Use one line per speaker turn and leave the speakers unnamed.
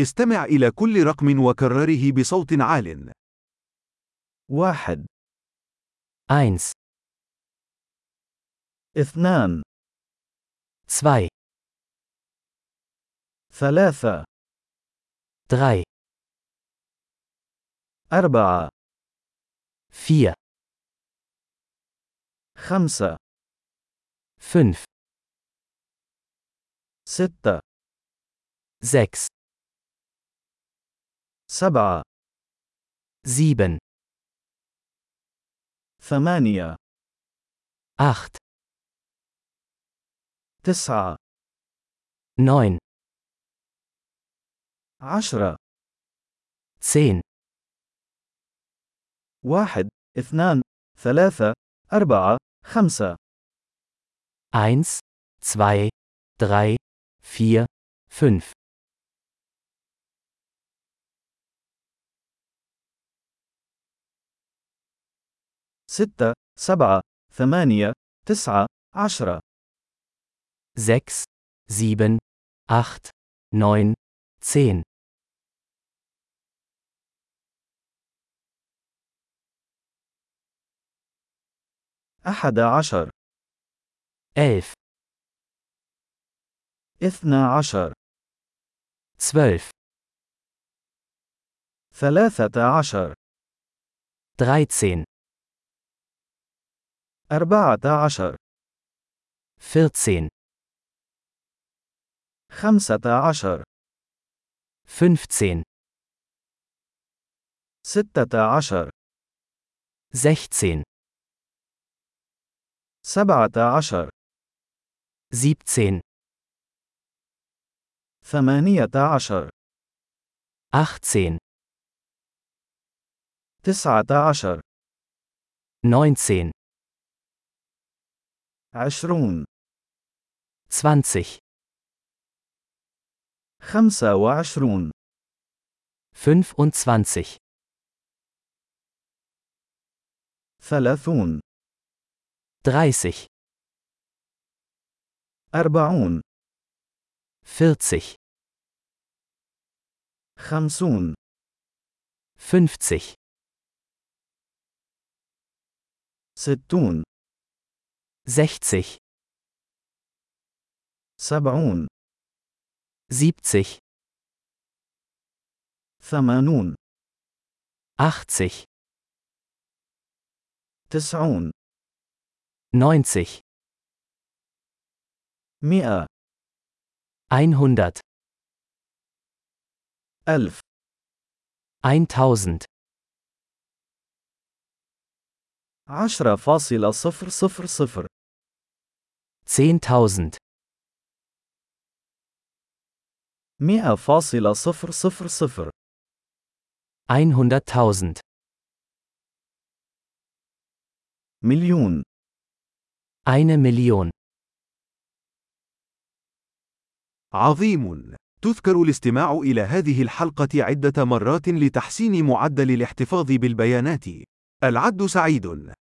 استمع إلى كل رقم وكرره بصوت عال.
واحد
Eins,
اثنان
zwei,
ثلاثة
drei,
أربعة
vier,
خمسة
fünf,
ستة
sechs,
سبعة
sieben,
ثمانية
acht,
تسعة
neun,
عشرة
zehn,
واحد اثنان ثلاثة أربعة خمسة
eins, zwei, drei, vier, fünf,
ستة سبعة ثمانية تسعة عشرة
sechs, sieben, acht, neun, zehn,
أحد عشر
elf,
اثنى عشر
zwölf,
ثلاثة عشر
dreizehn,
أربعة عشر
vierzehn,
خمسة عشر
fünfzehn,
ستة عشر
sechzehn,
سبعة عشر
siebzehn,
ثمانية عشر
achtzehn,
تسعة عشر
neunzehn,
عشرون
zwanzig,
خمسة وعشرون
fünfundzwanzig,
ثلاثون
dreißig,
أربعون
vierzig,
خمسون
fünfzig,
ستون
sechzig,
سبعون
siebzig,
ثمانون
achtzig,
تسعون
90,
مئة
100,
ألف
1000,
عشرة فاصلة صفر صفر صفر
10.000,
مئة فاصلة صفر صفر صفر
100.000,
مليون
eine Million.
عظيم! تذكر الاستماع إلى هذه الحلقة عدة مرات لتحسين معدل الاحتفاظ بالبيانات. العد سعيد!